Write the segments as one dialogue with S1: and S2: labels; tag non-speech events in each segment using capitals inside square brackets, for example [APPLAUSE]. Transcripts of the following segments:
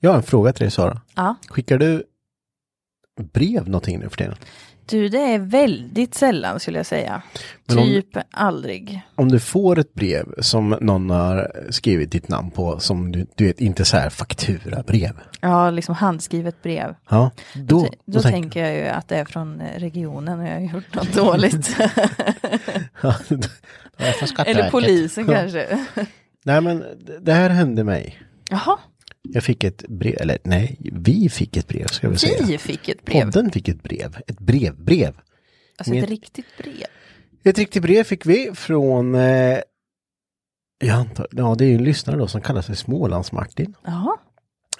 S1: Jag har en fråga till dig Sara.
S2: Ja,
S1: Skickar du brev någonting nu för tiden?
S2: du det är väldigt sällan skulle jag säga.
S1: Men om-
S2: Typ aldrig.
S1: Om du får ett brev som någon har skrivit ditt namn på, som du, du vet, inte så här fakturabrev.
S2: Ja, liksom handskrivet brev.
S1: Ja, Oh, då,
S2: Då, tänker jag ju att det är från eh, regionen och jag har gjort något
S1: [LAUGHS]
S2: dåligt.
S1: Ja, då- då har jag från
S2: [LAUGHS] Eller
S1: Skatteverket.
S2: polisen
S1: Ja.
S2: kanske.
S1: Nej, men det- det här hände mig.
S2: Jaha,
S1: Jag fick ett brev, eller nej, vi fick ett brev ska vi säga.
S2: vi fick ett brev.
S1: Podden fick ett brev, ett brevbrev.
S2: Alltså
S1: med-
S2: ett riktigt brev.
S1: Ett riktigt brev fick vi från, eh, jag antar, ja det är ju en lyssnare då som kallar sig Smålands-Martin.
S2: Jaha,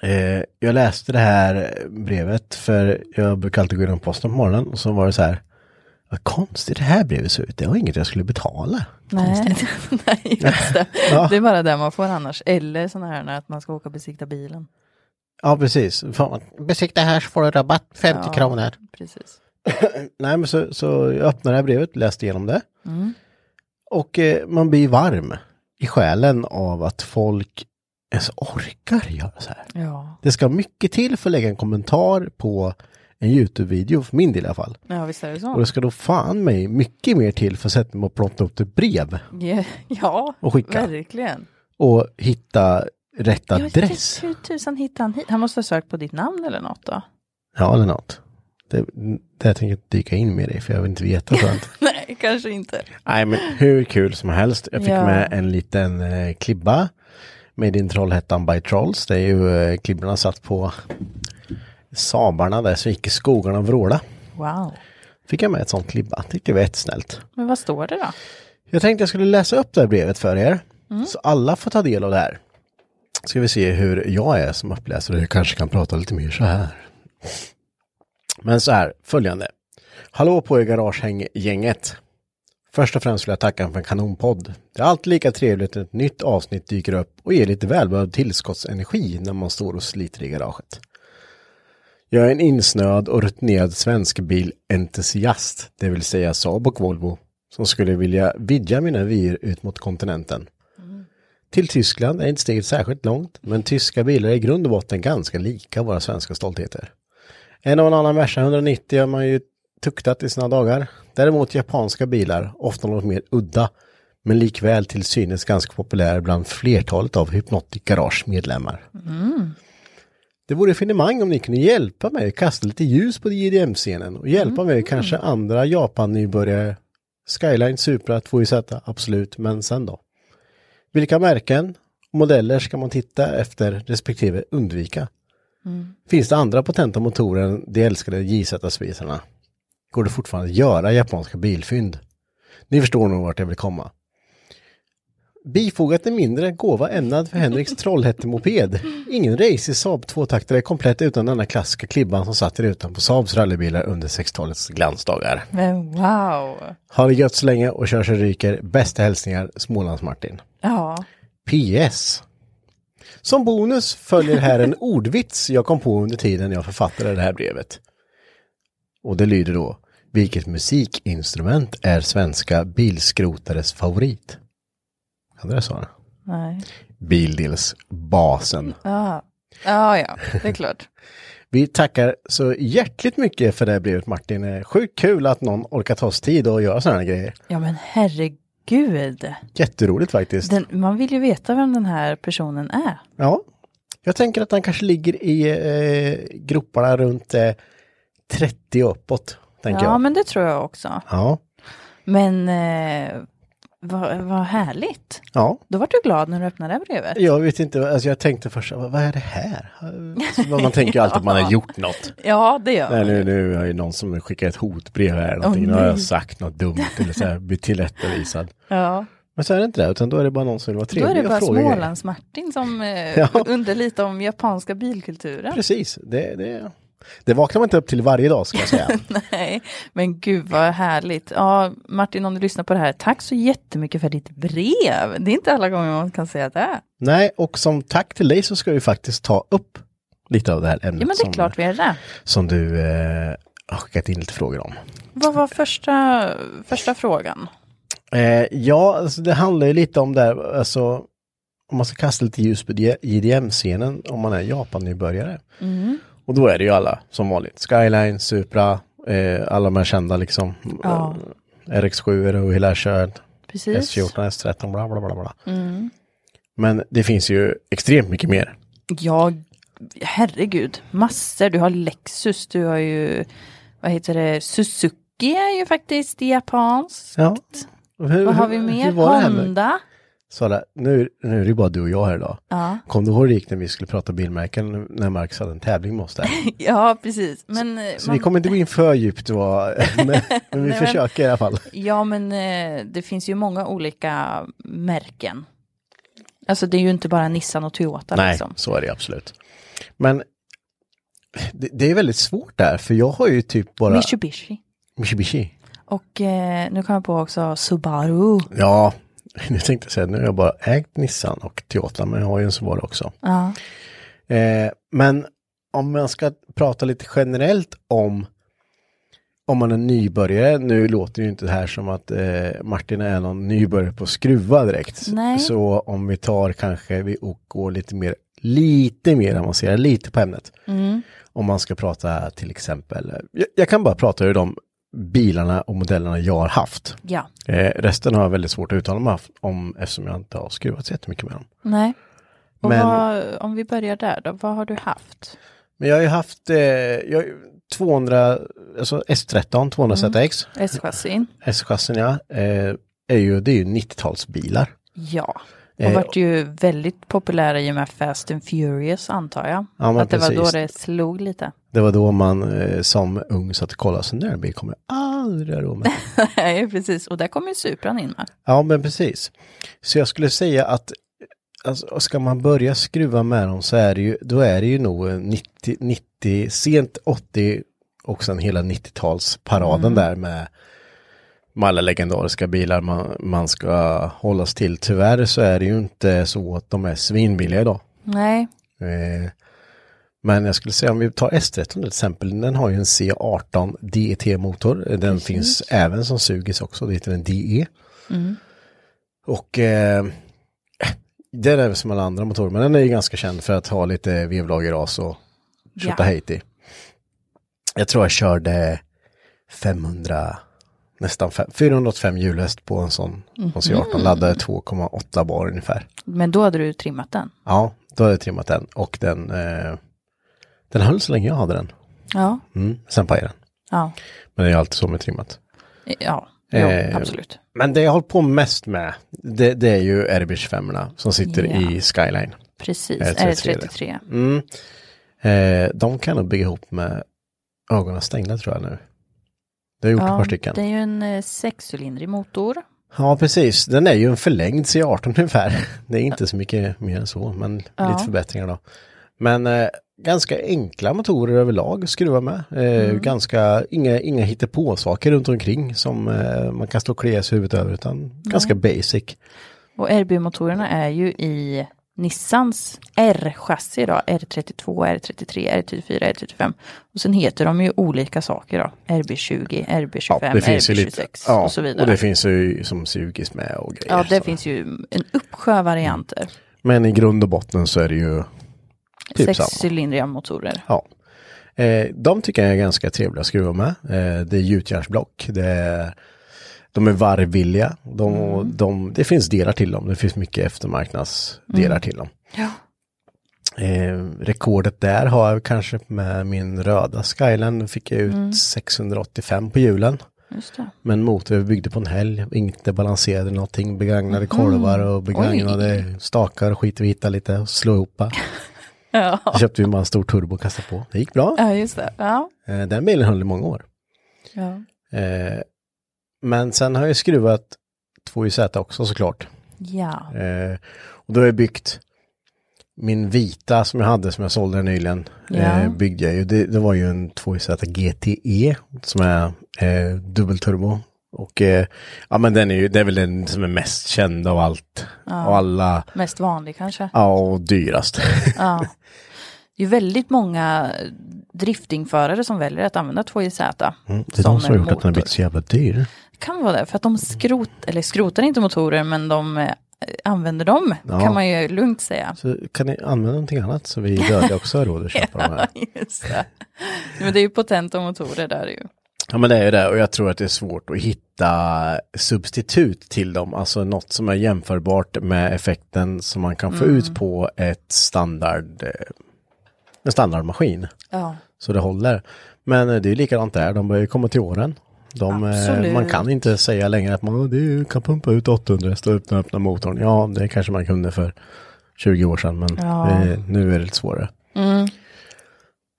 S1: Eh, jag läste det här brevet för jag brukar alltid gå igenom posten på morgonen och så var det så här, vad konstigt det här brevet såg ut, det var inget jag skulle betala.
S2: nej. [LAUGHS] nej just det.
S1: [LAUGHS] Ja.
S2: det är bara det man får annars. Eller sådana här när att man ska åka och besikta bilen.
S1: Ja precis, Fan, besikta här så får du rabatt, 50
S2: Ja.
S1: kronor.
S2: Precis.
S1: Nej men så, så jag öppnade det här brevet, läste igenom det. Och eh, man blir varm i själen av att folk ens orkar göra så här.
S2: Ja,
S1: Det ska mycket till för att lägga en kommentar på en YouTube-video, för min del i alla fall.
S2: ja visst är det
S1: Och
S2: så.
S1: det ska då fan mig mycket mer till för att sätta mig och plotta upp ett brev
S2: Ja, ja
S1: och skicka.
S2: verkligen.
S1: Och hitta rätt
S2: Jag vet inte
S1: adress.
S2: Hur tusan hittade han hit? Han måste ha sökt på ditt namn eller något då?
S1: Ja, eller något. Det, det här tänker jag inte dyka in med dig för jag vill inte veta
S2: [LAUGHS]
S1: sånt.
S2: [LAUGHS] Nej, kanske inte.
S1: Nej men hur kul som helst. Jag fick
S2: Ja.
S1: med en liten eh, klibba. Med din Trollhättan by Trolls. Det är ju eh, klibborna satt på sabarna där så gick i skogarna och vråla.
S2: Wow.
S1: Fick jag med ett sånt klibba. Tyckte det var snällt.
S2: Men vad står det då?
S1: Jag tänkte jag skulle läsa upp det här brevet för er. Så alla får ta del av det här. Ska vi se hur jag är som uppläsare. Jag kanske kan prata lite mer så här. Men så här, följande. Hallå på er garagehänggänget. Först och främst vill jag tacka för en kanonpodd. Det är alltid lika trevligt när ett nytt avsnitt dyker upp och ger lite välbehövd tillskottsenergi när man står och sliter i garaget. Jag är en insnöad och rutinerad svensk bilentusiast, det vill säga Saab och Volvo, som skulle vilja vidga mina vyer ut mot kontinenten. Till Tyskland är inte steget särskilt långt, men tyska bilar är i grund och botten ganska lika våra svenska stoltheter. En och en annan Merca 190 har man ju tuktat i sina dagar. Däremot japanska bilar, ofta något mer udda, men likväl till synes ganska populär bland flertalet av Hypnotic Garage medlemmar. Det vore finemang om ni kunde hjälpa mig att kasta lite ljus på JDM-scenen och hjälpa mig kanske andra Japan-nybörjare. Skyline Supra 2JZ, absolut, men sen då? Vilka märken och modeller ska man titta efter respektive undvika? Finns det andra potenta motorer än de älskade JZ-spisarna? Går det fortfarande att göra japanska bilfynd? Ni förstår nog vart jag vill komma. Bifogat en mindre gåva ämnad för Henriks Trollhättemoped. Ingen race i Saab tvåtaktare komplett utan denna klassiska klibban som satt i rutan på Saabs rallybilar under 60-talets glansdagar.
S2: Men wow.
S1: Ha det gött så länge och kör så ryker. Bästa hälsningar Smålands-Martin.
S2: Ja.
S1: PS. Som bonus följer här en ordvits jag kom på under tiden jag författade det här brevet. Och det lyder då, vilket musikinstrument är svenska bilskrotares favorit? Hade det svaret?
S2: Nej.
S1: Bildelsbasen.
S2: Ja. Ja, ja, det är klart.
S1: Vi tackar så hjärtligt mycket för det här brevet Martin. Eh, Sjukt kul att någon orkar ta oss tid och göra sådana här grejer.
S2: [LAUGHS] Ja, men herregud.
S1: Jätteroligt faktiskt.
S2: Den, man vill ju veta vem den här personen är.
S1: Ja, jag tänker att han kanske ligger i eh, groparna runt eh, 30 och uppåt. Tänker
S2: Ja,
S1: jag.
S2: men det tror jag också.
S1: Ja,
S2: Men eh, vad, vad härligt.
S1: ja,
S2: Då vart du glad när du öppnade det här brevet.
S1: jag vet inte, alltså jag tänkte först, vad vad är det här? Alltså, vad man tänker ju alltid att man har gjort något.
S2: Ja, det gör
S1: Nej,
S2: man.
S1: nu, nu har ju någon som skickar ett hotbrev här, någonting, nu har jag sagt något dumt eller så här, blivit tillrättavisad.
S2: Ja.
S1: Men så är det inte det, utan då är det bara någon som vill vara
S2: Då är
S1: trevlig
S2: det bara
S1: och fråga grejer.
S2: Smålands-Martin som
S1: [LAUGHS]
S2: eh,
S1: Ja.
S2: undrar lite om japanska bilkulturen.
S1: Precis, det, det, det vaknar man inte upp till varje dag ska jag
S2: [LAUGHS]
S1: säga.
S2: Nej, men gud vad härligt. Ja, Martin, om du lyssnar på det här, tack så jättemycket för ditt brev. Det är inte alla gånger man kan säga det.
S1: Nej, och som tack till dig så ska vi faktiskt ta upp lite av det här ämnet
S2: Ja, men det är
S1: som,
S2: klart vi är det.
S1: som du eh, har skickat in lite frågor om.
S2: Vad var första, första frågan?
S1: Eh, ja, alltså, det handlar ju lite om det här, alltså om man ska kasta lite ljus på JDM-scenen om man är Japan-nybörjare.
S2: Mm.
S1: Och då är det ju alla som vanligt, Skyline, Supra, eh, alla de här kända liksom.
S2: Ja.
S1: Eh, RX7 och hela köret.
S2: Precis.
S1: S14, S13, bla bla bla. bla. Men det finns ju extremt mycket mer.
S2: Ja, herregud, massor. Du har Lexus, du har ju, vad heter det, Suzuki är ju faktiskt japanskt.
S1: Ja. Hur,
S2: Vad har vi
S1: hur-
S2: mer?
S1: hur var det här med-
S2: Honda. [LAUGHS]
S1: Sara, nu, nu är det ju bara du och jag här idag.
S2: Ja.
S1: Kom du ihåg hur det gick när vi skulle prata bilmärken när Marcus hade en tävling med oss [LAUGHS] där?
S2: ja, precis. Men, eh,
S1: Så
S2: man,
S1: vi kommer inte gå in för djupt då, [LAUGHS] men, men vi
S2: men-
S1: försöker i alla fall.
S2: Ja, men eh, det finns ju många olika märken. Alltså det är ju inte bara Nissan och Toyota
S1: Nej,
S2: liksom.
S1: så är det absolut. Men det, det är väldigt svårt där, för jag har ju typ bara
S2: Mitsubishi.
S1: Mitsubishi.
S2: Och eh, nu kommer jag på också Subaru.
S1: Ja, nu tänkte jag säga, nu har jag bara ägt Nissan och Toyota, men jag har ju en Subaru också.
S2: Ja.
S1: Eh, men om man ska prata lite generellt om om man är nybörjare, nu låter det ju inte det här som att eh, Martin är någon nybörjare på skruva direkt.
S2: Nej.
S1: Så om vi tar kanske, vi och går lite mer, lite mer avancerade, lite på ämnet.
S2: Mm.
S1: Om man ska prata till exempel, jag, jag kan bara prata ur de bilarna och modellerna jag har haft.
S2: ja.
S1: Eh, resten har jag väldigt svårt att uttala mig om eftersom jag inte har skruvat så jättemycket med dem.
S2: Nej. Och
S1: Men-
S2: vad, om vi börjar där då, vad har du haft?
S1: Men jag har ju haft eh, jag, har ju 200, alltså S13, 200 ZX,
S2: Mm. S-chassin?
S1: S-chassin ja, eh, är ju, det är ju 90-talsbilar.
S2: Ja. Och
S1: Eh,
S2: vart ju väldigt populära i och med Fast and Furious antar jag.
S1: Ja, men
S2: att det var då
S1: precis.
S2: det slog lite. [LAUGHS]
S1: Det var då man eh, som ung satt och kollade, så den där bilen kommer jag aldrig ha råd med.
S2: Nej, precis. Och där kom ju Supran in med.
S1: ja men precis. Så jag skulle säga att alltså, ska man börja skruva med dem så är det ju, då är det ju nog en 90, 90 sent 80 och sen hela 90-talsparaden där med med alla legendariska bilar man, man ska hållas till. Tyvärr så är det ju inte så att de är svinbilliga idag.
S2: Nej,
S1: Eh, Men jag skulle säga om vi tar S13 till exempel, den har ju en C18 DET-motor. E Den finns även som sugis också, det heter en DE. Och eh, den är väl som alla andra motorer, men den är ju ganska känd för att ha lite vevlag i ras och kötta hejt i. Jag tror jag körde 500, nästan fem- 485 hjulhäst på en sån, på en C18, laddade 2,8 bar ungefär.
S2: men då hade du trimmat den.
S1: Ja, då hade jag trimmat den och den, eh, den höll så länge jag hade den.
S2: Ja,
S1: Mm. Sen pajade den.
S2: ja,
S1: Men det är ju alltid så med trimmat.
S2: ja, jo,
S1: Eh,
S2: absolut.
S1: Men det jag har hållit på mest med, det, det är ju RB25 som sitter i Skyline.
S2: Precis,
S1: är
S2: är det
S1: 33?
S2: 33?
S1: Mm. Eh, de kan nog bygga ihop med ögonen stängda tror jag nu. Det har jag gjort ett par stycken.
S2: det är ju en eh, sexcylindrig motor.
S1: Ja, precis. Den är ju en förlängd C18 ungefär. Det är inte så mycket mer än så, men lite förbättringar då. Men eh, ganska enkla motorer överlag att skruva med. Eh,
S2: Mm.
S1: Ganska, inga, inga hittepåsaker runt omkring som eh, man kan stå och klia sig i huvudet över, utan ganska basic.
S2: Och RB-motorerna är ju i Nissans R-chassi då, R32, R33, R34, R35. Och sen heter de ju olika saker då, RB20, RB25, RB26
S1: ja,
S2: och så vidare.
S1: Och det finns ju som sugis med och grejer.
S2: ja, det
S1: så.
S2: finns ju en uppsjö varianter.
S1: Men i grund och botten så är det ju Mm. Typ samma.
S2: Sexcylindriga motorer.
S1: Ja. Eh, de tycker jag är ganska trevliga att skruva med. Eh, det är gjutjärnsblock, det är, de är varvvilliga, de,
S2: Mm.
S1: de, det finns delar till dem, det finns mycket eftermarknadsdelar
S2: Mm.
S1: till dem. Eh, rekordet där har jag kanske med min röda Skyline, den fick jag ut 685 på hjulen.
S2: Mm. Just det.
S1: Men motor vi byggde på en helg, inte balanserade någonting, begagnade kolvar och begagnade stakar och skit vi hittade lite och slå ihop.
S2: Ja.
S1: Då köpte vi bara en stor turbo och kastade på. Det gick bra.
S2: ja, just det. Ja.
S1: Eh, Den bilen höll i många år.
S2: Ja.
S1: Eh, Men sen har jag skruvat 2YZ också såklart.
S2: ja.
S1: Eh, Och då har jag byggt min vita som jag hade som jag sålde nyligen.
S2: Ja.
S1: eh, Byggde jag ju. Det, det var ju en 2YZ GTE E som är eh, dubbelturbo. Och eh, ja men den är ju, det är väl den som är mest känd av allt. Och alla,
S2: Mest vanlig kanske.
S1: ja och
S2: [LAUGHS]
S1: dyrast. [LAUGHS]
S2: Ja. Det är ju väldigt många driftingförare som väljer att använda 2JZ.
S1: Mm, Det är de som har gjort att den har blivit så jävla dyr.
S2: kan vara det, för att de skrot, eller skrotar inte motorer, men de eh, använder dem,
S1: Ja.
S2: kan man ju lugnt säga.
S1: Så kan ni använda någonting annat så vi döda också har råd att köpa
S2: [LAUGHS]
S1: de här.
S2: Just det. Men det är ju potenta motorer där ju.
S1: Ja men det är ju det och jag tror att det är svårt att hitta substitut till dem, alltså något som är jämförbart med effekten som man kan få ut på ett standard, eh, en standardmaskin.
S2: Ja,
S1: Så det håller. Men eh, det är likadant där, de börjar ju komma till åren. De, eh,
S2: Absolut.
S1: man kan inte säga längre att man "Åh, du kan pumpa ut 800 hästar utan att öppna motorn. Ja, det kanske man kunde för 20 år sedan, men eh, nu är det lite svårare.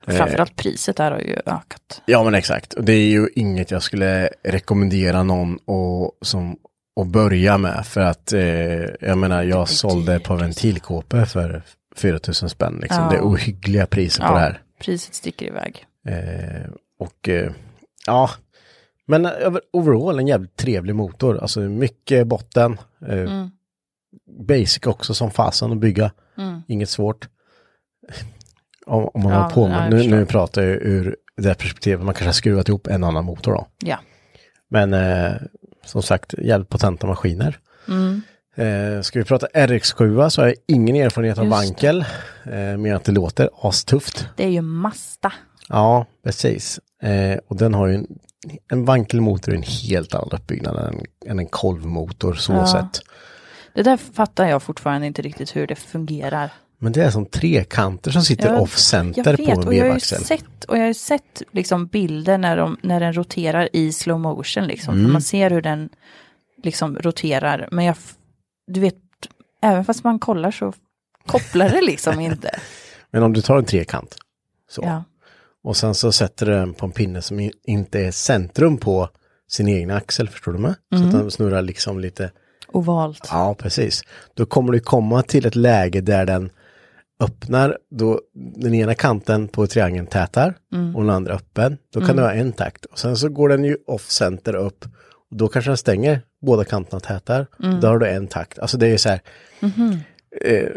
S2: framförallt priset där har ju ökat.
S1: Ja men exakt, Och det är ju inget jag skulle rekommendera någon att, som, att börja med för att eh, jag menar jag sålde ett par ventilkåpor för 4000 spänn liksom.
S2: Ja.
S1: Det är ohyggliga priser på det här.
S2: priset sticker iväg.
S1: Eh, och eh, ja, men eh, över- overall en jävligt trevlig motor, alltså mycket botten. Eh,
S2: Mm.
S1: Basic också som fasen att bygga, inget svårt. [LAUGHS] Om, om man
S2: Mm. Ja,
S1: har på med,
S2: ja, jag
S1: nu,
S2: förstår.
S1: nu pratar jag ur det här perspektivet, man kanske har skruvat ihop en annan motor då.
S2: Ja,
S1: Men eh, som sagt, jävligt potenta maskiner.
S2: Mm.
S1: Eh, ska vi prata RX7 så har jag ingen erfarenhet av
S2: Just
S1: vankel, eh, mer att det låter astufft.
S2: det är ju Masta.
S1: Ja, precis. Eh, och den har ju en, en vankelmotor är en helt annan uppbyggnad än, än en kolvmotor så sett.
S2: Det där fattar jag fortfarande inte riktigt hur det fungerar.
S1: Men det är som trekanter som sitter
S2: Jag-
S1: off-center på en
S2: och jag har ju
S1: vevaxel.
S2: sett, och jag har ju sett liksom bilder när, de, när den roterar i slow motion. Liksom.
S1: Mm.
S2: För Man ser hur den liksom roterar. Men jag, f- du vet, även fast man kollar så kopplar
S1: [LAUGHS]
S2: det liksom inte.
S1: Men om du tar en trekant så,
S2: Ja,
S1: och sen så sätter du den på en pinne som i- inte är centrum på sin egna axel, förstår du mig?
S2: Mm.
S1: Så att den snurrar liksom lite
S2: ovalt.
S1: Ja, precis. Då kommer du komma till ett läge där den öppnar, då den ena kanten på triangeln tätar och den andra öppen. Då kan du ha en takt och sen så går den ju off center upp och då kanske den stänger båda kanterna tätar. Då har du en takt. Alltså det är ju så här. Eh,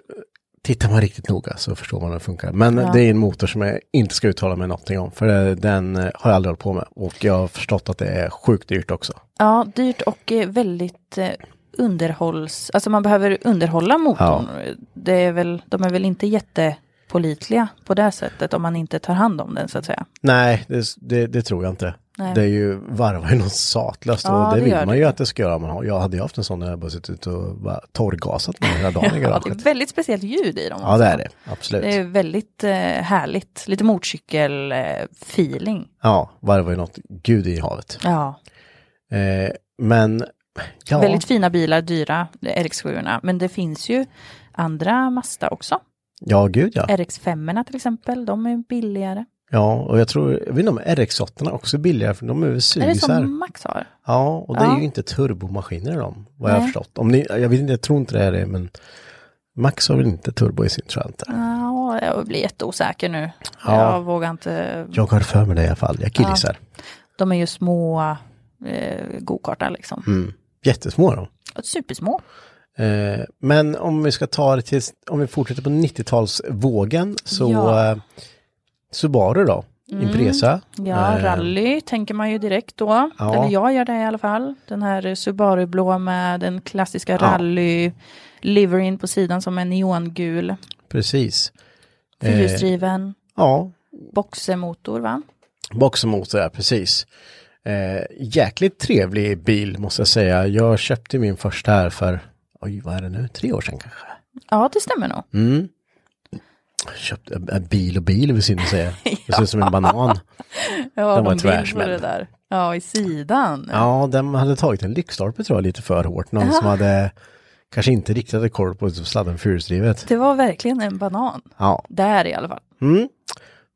S1: tittar man riktigt noga så förstår man hur det funkar. Men det är en motor som jag inte ska uttala mig någonting om för eh, den eh, har jag aldrig hållit på med och jag har förstått att det är sjukt dyrt också.
S2: Ja, dyrt och eh, väldigt eh, underhålls... Alltså man behöver underhålla motorn. Det är väl, de är väl inte jättepålitliga på det här sättet om man inte tar hand om den så att säga.
S1: Nej, det, det, det tror jag inte.
S2: Nej.
S1: Det är ju varvar ju något satlöst
S2: Ja,
S1: och det,
S2: det gör
S1: vill man ju
S2: det.
S1: att det ska göra. om Man har, jag hade ju haft en sån när jag bara suttit ut och bara torrgasat med hela dagen i
S2: [LAUGHS] Ja, det
S1: garaget.
S2: är väldigt speciellt ljud i dem.
S1: Ja, det är det. Absolut.
S2: Det är väldigt eh, härligt, lite eh, motorcykel-feeling.
S1: Ja, varvar ju något gud i havet.
S2: Ja.
S1: Eh, men, ja.
S2: Väldigt fina bilar, dyra, rx 7 Men det finns ju andra Mazda också.
S1: Ja, gud ja.
S2: rx 5 till exempel, de är billigare.
S1: Ja, och jag tror, jag vet inte om RX-8 också är billigare för de är väl
S2: Är det
S1: sugisar.
S2: som Max har?
S1: Ja, och det är
S2: Ja.
S1: ju inte turbomaskiner i dem, vad jag har
S2: Nej.
S1: förstått. Om ni, jag, vet inte, jag tror inte det är det, men Max har väl inte turbo i sin, tror jag inte.
S2: Ja, jag blir jätteosäker nu.
S1: Ja.
S2: Jag vågar inte.
S1: Jag har för mig det i alla fall, jag killgissar.
S2: De är ju små eh, gokartar liksom.
S1: Mm. Jättesmå de.
S2: Supersmå.
S1: Eh, men om vi ska ta det till, om vi fortsätter på 90-talsvågen så
S2: Ja.
S1: eh, Subaru då, Impresa.
S2: Ja,
S1: Eh,
S2: rally tänker man ju direkt då.
S1: Ja.
S2: Eller jag gör det i alla fall. Den här Subaru-blå med den klassiska rally liveryn på sidan som är
S1: Eh.
S2: neongul.
S1: Precis.
S2: Fyrhjulsdriven.
S1: Ja,
S2: Boxermotor va?
S1: boxermotor, ja, precis. Eh, jäkligt trevlig bil måste jag säga. Jag köpte min första här för, oj vad är det nu, tre år sedan kanske.
S2: Ja, det stämmer nog.
S1: Mm, Köpte, eh, bil och bil vill synd att säga. Det ser ut som en banan.
S2: Ja,
S1: Den var
S2: de vill på
S1: tvärsmäll.
S2: det där. Ja, i sidan.
S1: Ja, den hade tagit en lyktstolpe tror jag lite för hårt. Någon som hade kanske inte riktigt hade koll på sladden fyrhjulsdrivet.
S2: Det var verkligen en banan.
S1: Ja,
S2: Där i alla fall.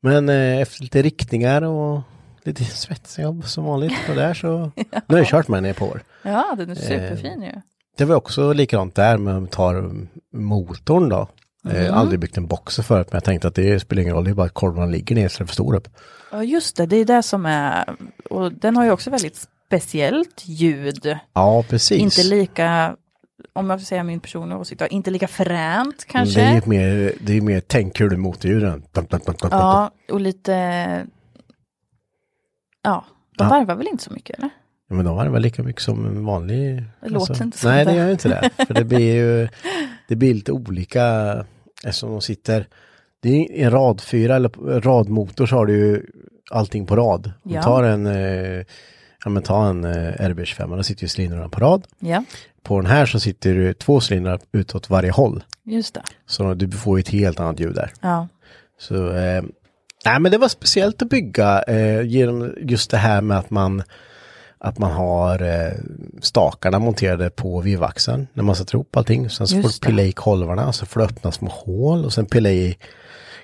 S1: men eh, efter lite riktningar och lite [LAUGHS] svetsjobb som vanligt på där
S2: [LAUGHS]
S1: så nu har jag kört med den i ett par år.
S2: Ja, den är
S1: Eh.
S2: superfin ju.
S1: Det var också likadant där, men om vi tar motorn då.
S2: Mm.
S1: Eh, aldrig byggt en boxer förut, men jag tänkte att det spelar ingen roll, det är bara att kolvarna ligger ner så den förstår upp.
S2: Ja, just det. Det är det som är... Och den har ju också väldigt speciellt ljud.
S1: Ja, precis.
S2: Inte lika, om jag får säga min personliga åsikt, då, inte lika fränt kanske.
S1: Det är ju mer, det är mer tänkhjul i motordjuren. Dum, dum, dum, dum, dum.
S2: Ja, och lite... Ja, de
S1: Ja.
S2: varvar väl inte så mycket eller?
S1: Ja, Men de har väl lika mycket som en vanlig... alltså.
S2: Det låter inte så
S1: Nej, det
S2: där.
S1: gör ju inte det. För det blir ju... Det blir lite olika eftersom de sitter... Det är ju en radfyra eller på- radmotor så har du ju allting på rad. Om
S2: Ja.
S1: du tar en... eh, Ja men ta en eh, RB25, då sitter ju cylindrarna på rad.
S2: Ja,
S1: På den här så sitter det två cylindrar utåt varje håll.
S2: just det.
S1: Så du får ju ett helt annat ljud där.
S2: Ja,
S1: Så, eh, nej men det var speciellt att bygga eh, genom just det här med att man att man har eh, stakarna monterade på vevaxeln när man sätter ihop allting. Sen så får du
S2: Just det.
S1: pilla i kolvarna, så får du öppna små hål och sen pilla i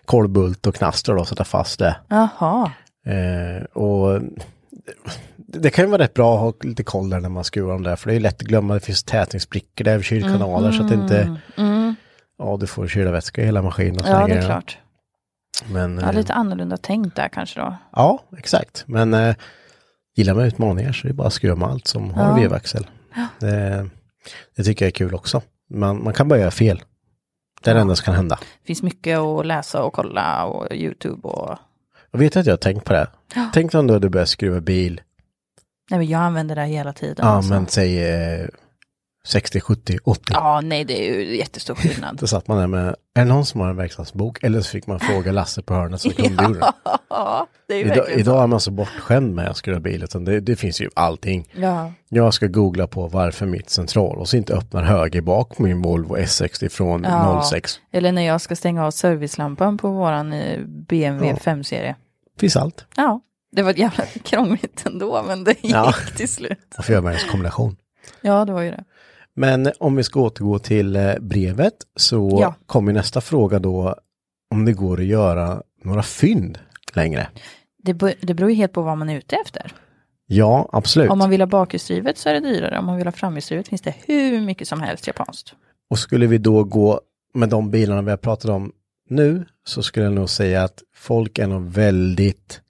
S1: kolvbult och knaster då och sätta fast det.
S2: jaha.
S1: Eh, och det, det kan ju vara rätt bra att ha lite koll där när man skruvar dem där, för det är ju lätt att glömma, det finns tätningsbrickor där, kylkanaler så att det inte, ja du får kyla vätska i hela maskinen och såna
S2: Mm. Ja, det är
S1: grejer.
S2: klart.
S1: Men,
S2: Ja,
S1: eh,
S2: lite annorlunda tänkt där kanske då.
S1: Ja, exakt. Men eh, gillar man utmaningar så är det bara att skruva med allt som har vevaxel. Det, det tycker jag är kul också. Man, man kan bara göra fel. Det är det enda som kan hända.
S2: Det finns mycket att läsa och kolla och YouTube och...
S1: Jag vet att jag har tänkt på det. Tänk om du hade börjat skruva bil,
S2: Nej, men jag använder det här hela tiden.
S1: ja
S2: alltså.
S1: men säg eh, 60, 70, 80.
S2: Ja, nej, det är ju jättestor skillnad.
S1: Då satt man där med, är [LAUGHS] det någon som har en verkstadsbok? Eller så fick man fråga Lasse på hörnet
S2: [LAUGHS]
S1: som kunde ur den.
S2: ja, det är ju
S1: Idag,
S2: verkligen så.
S1: idag är man så bortskämd med att skruva bil, utan det, det finns ju allting.
S2: Ja,
S1: Jag ska googla på varför mitt central och så inte öppnar höger bak på min Volvo S60 från
S2: Ja.
S1: 06.
S2: eller när jag ska stänga av servicelampan på våran eh, BMW
S1: Ja.
S2: 5-serie.
S1: Finns allt.
S2: Ja, det var jävla [LAUGHS] krångligt ändå, men det gick
S1: Ja.
S2: till slut.
S1: Varför gör man ens kombination?
S2: Ja, det var ju det.
S1: Men om vi ska återgå till eh, brevet så
S2: Ja.
S1: kommer nästa fråga då om det går att göra några fynd längre.
S2: Det, be- det beror ju helt på vad man är ute efter.
S1: Ja, absolut.
S2: Om man vill ha bakhjulsdrivet så är det dyrare. Om man vill ha framhjulsdrivet finns det hur mycket som helst japanskt.
S1: Och skulle vi då gå med de bilarna vi har pratat om nu så skulle jag nog säga att folk är nog väldigt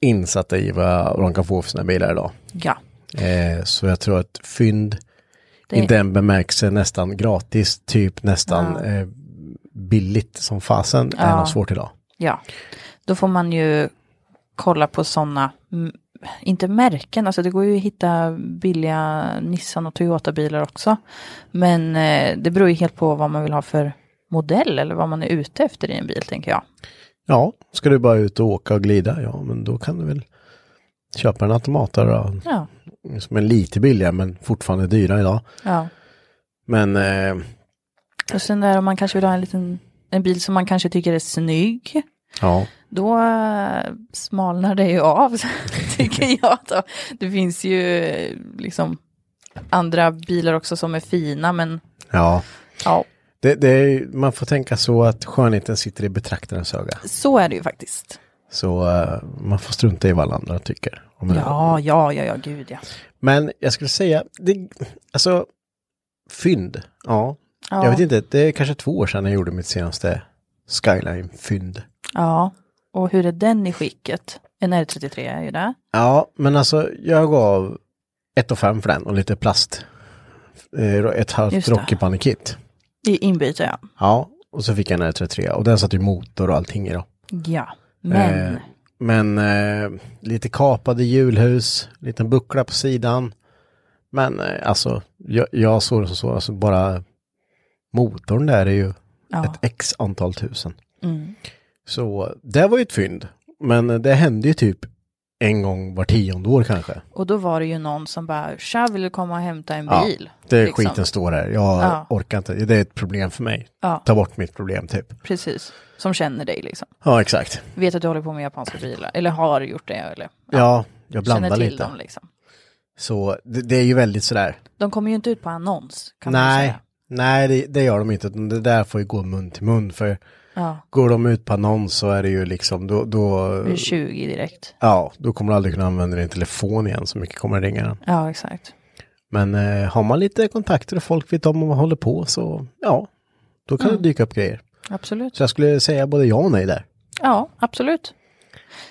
S1: insatta i vad de kan få för sina bilar idag.
S2: Ja,
S1: Eh, så jag tror att fynd
S2: det,
S1: i den bemärkelsen nästan gratis, typ nästan
S2: Ja.
S1: eh, billigt som fasen, är
S2: Ja.
S1: nog svårt idag.
S2: ja. Då får man ju kolla på sådana, inte märken, alltså det går ju att hitta billiga Nissan och Toyota-bilar också. Men eh, det beror ju helt på vad man vill ha för modell eller vad man är ute efter i en bil, tänker jag.
S1: Ja, ska du bara ut och åka och glida, ja men då kan du väl köpa en automat där då,
S2: Ja,
S1: som är lite billigare men fortfarande dyra idag.
S2: ja.
S1: Men eh,
S2: Och sen där om man kanske vill ha en liten en bil som man kanske tycker är snygg.
S1: ja,
S2: Då eh, smalnar det ju av, [LAUGHS] tycker jag. Då. Det finns ju eh, liksom andra bilar också som är fina, men
S1: ja.
S2: ja,
S1: Det, det är, ju- man får tänka så att skönheten sitter i betraktarens öga.
S2: så är det ju faktiskt.
S1: Så eh, man får strunta i vad alla andra tycker. Om det.
S2: Ja, ja, ja, ja, gud ja.
S1: Men jag skulle säga, det, alltså, fynd. Ja.
S2: Ja,
S1: jag vet inte, det är kanske två år sedan jag gjorde mitt senaste Skyline-fynd.
S2: ja. och hur är den i skicket? En R33 är ju det.
S1: Ja, men alltså jag gav 1 5 för den och lite plast. Eh, Ett halvt
S2: Just det.
S1: Rocky Bunny kit.
S2: I inbyte, ja.
S1: Ja, och så fick jag en R33 och den satt ju motor och allting i då.
S2: Ja, men.
S1: Eh, men eh, lite kapade hjulhus, liten buckla på sidan. Men eh, alltså, jag, jag såg det som så, alltså bara motorn där är ju
S2: Ja.
S1: ett x antal tusen.
S2: Mm.
S1: Så det var ju ett fynd. Men eh, det hände ju typ en gång var tionde år kanske.
S2: Och då var det ju någon som bara, tja, vill du komma och hämta en
S1: Ja,
S2: bil?
S1: Det är
S2: Liksom.
S1: skiten står här. Jag
S2: Ja.
S1: orkar inte. Det är ett problem för mig.
S2: Ja.
S1: Ta bort mitt problem typ.
S2: Precis, som känner dig liksom.
S1: Ja, exakt.
S2: Vet att du håller på med japanska bilar, eller har gjort det, eller
S1: Ja, jag blandar
S2: känner till
S1: lite.
S2: dem liksom.
S1: Så det, det är ju väldigt sådär.
S2: De kommer ju inte ut på annons, kan man ju
S1: Nej,
S2: säga.
S1: nej det, det gör de inte. utan Det där får ju gå mun till mun. För
S2: Ja,
S1: går de ut på annons så är det ju liksom då, då,
S2: det är 20 direkt.
S1: ja, då kommer du aldrig kunna använda din telefon igen. Så mycket kommer det ringa den.
S2: Ja, exakt.
S1: Men eh, har man lite kontakter och folk vet om vad man håller på så ja, då kan det dyka upp grejer.
S2: Absolut.
S1: Så jag skulle säga både ja och nej där.
S2: Ja, absolut.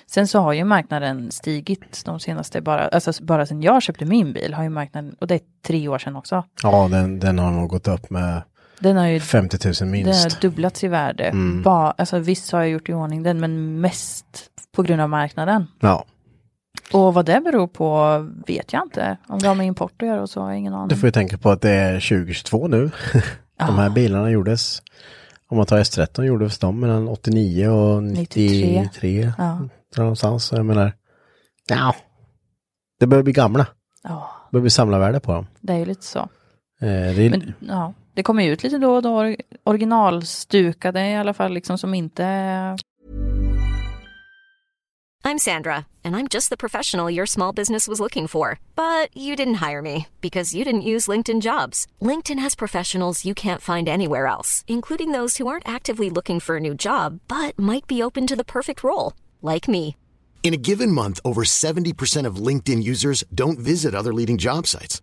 S2: Sen så har ju marknaden stigit de senaste, bara, alltså bara sen jag köpte min bil har ju marknaden, och det är tre år sedan också,
S1: Ja, den, den har nog gått upp med
S2: den har ju
S1: 50 000
S2: den har
S1: minst. Mm.
S2: dubblats i värde. Ba, alltså vissa har ju gjort i ordning den, men mest på grund av marknaden.
S1: Ja,
S2: Och vad det beror på vet jag inte. Om det har med import att göra och så har jag ingen aning.
S1: du får ju tänka på att det är 2022 nu. [LAUGHS] De
S2: Ah.
S1: här bilarna gjordes, om man tar S13 gjordes de mellan 89 och 93. 93
S2: Ja.
S1: Där någonstans, så jag menar, ja, det börjar bli gamla.
S2: Ja,
S1: Det börjar bli samlarvärde på dem.
S2: det är ju lite så.
S1: Eh, det är,
S2: Men ja, det kommer ju ut lite då och då or- originalstukade i alla fall liksom som inte...
S3: I'm Sandra, and I'm just the professional your small business was looking for. But you didn't hire me because you didn't use LinkedIn jobs. LinkedIn has professionals you can't find anywhere else, including those who aren't actively looking for a new job but might be open to the perfect role, like me.
S4: In a given month, over 70% of LinkedIn users don't visit other leading job sites.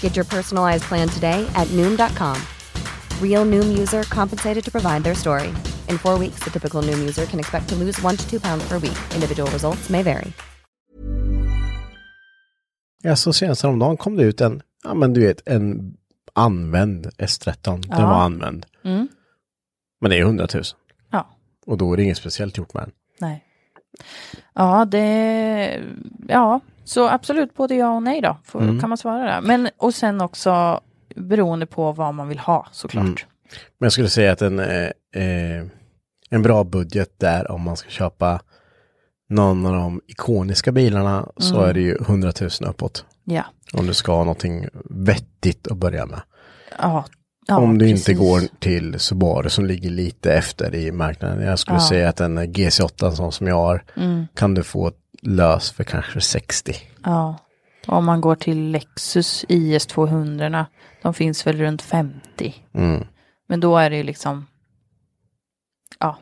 S5: Get your personalized plan today at Noom.com. Real Noom user compensated to provide their story. In four weeks, the typical Noom user can expect to lose one to two pounds per week. Individual results may vary.
S1: ja, så senast häromdagen kom det ut en, ja men du vet, en använd S13. Den
S2: Ja.
S1: var använd.
S2: Mm,
S1: Men det är 100 000.
S2: ja,
S1: Och då är det inget speciellt gjort med den.
S2: nej. Ja, det... Ja, så absolut både ja och nej då, får,
S1: Mm.
S2: kan man svara där. Men och sen också beroende på vad man vill ha såklart.
S1: Mm. Men jag skulle säga att en, eh, eh, en bra budget där om man ska köpa någon av de ikoniska bilarna så
S2: Mm.
S1: är det ju 100 000 uppåt.
S2: Ja,
S1: Om du ska ha någonting vettigt att börja med.
S2: ja. ja
S1: om du
S2: precis.
S1: inte går till Subaru som ligger lite efter i marknaden. Jag skulle säga att en GC8 sån som jag har
S2: Mm.
S1: kan du få lös för kanske 60.
S2: Ja. Om man går till Lexus IS 200, de finns väl runt 50.
S1: Mm.
S2: Men då är det ju liksom, ja,
S1: Mm,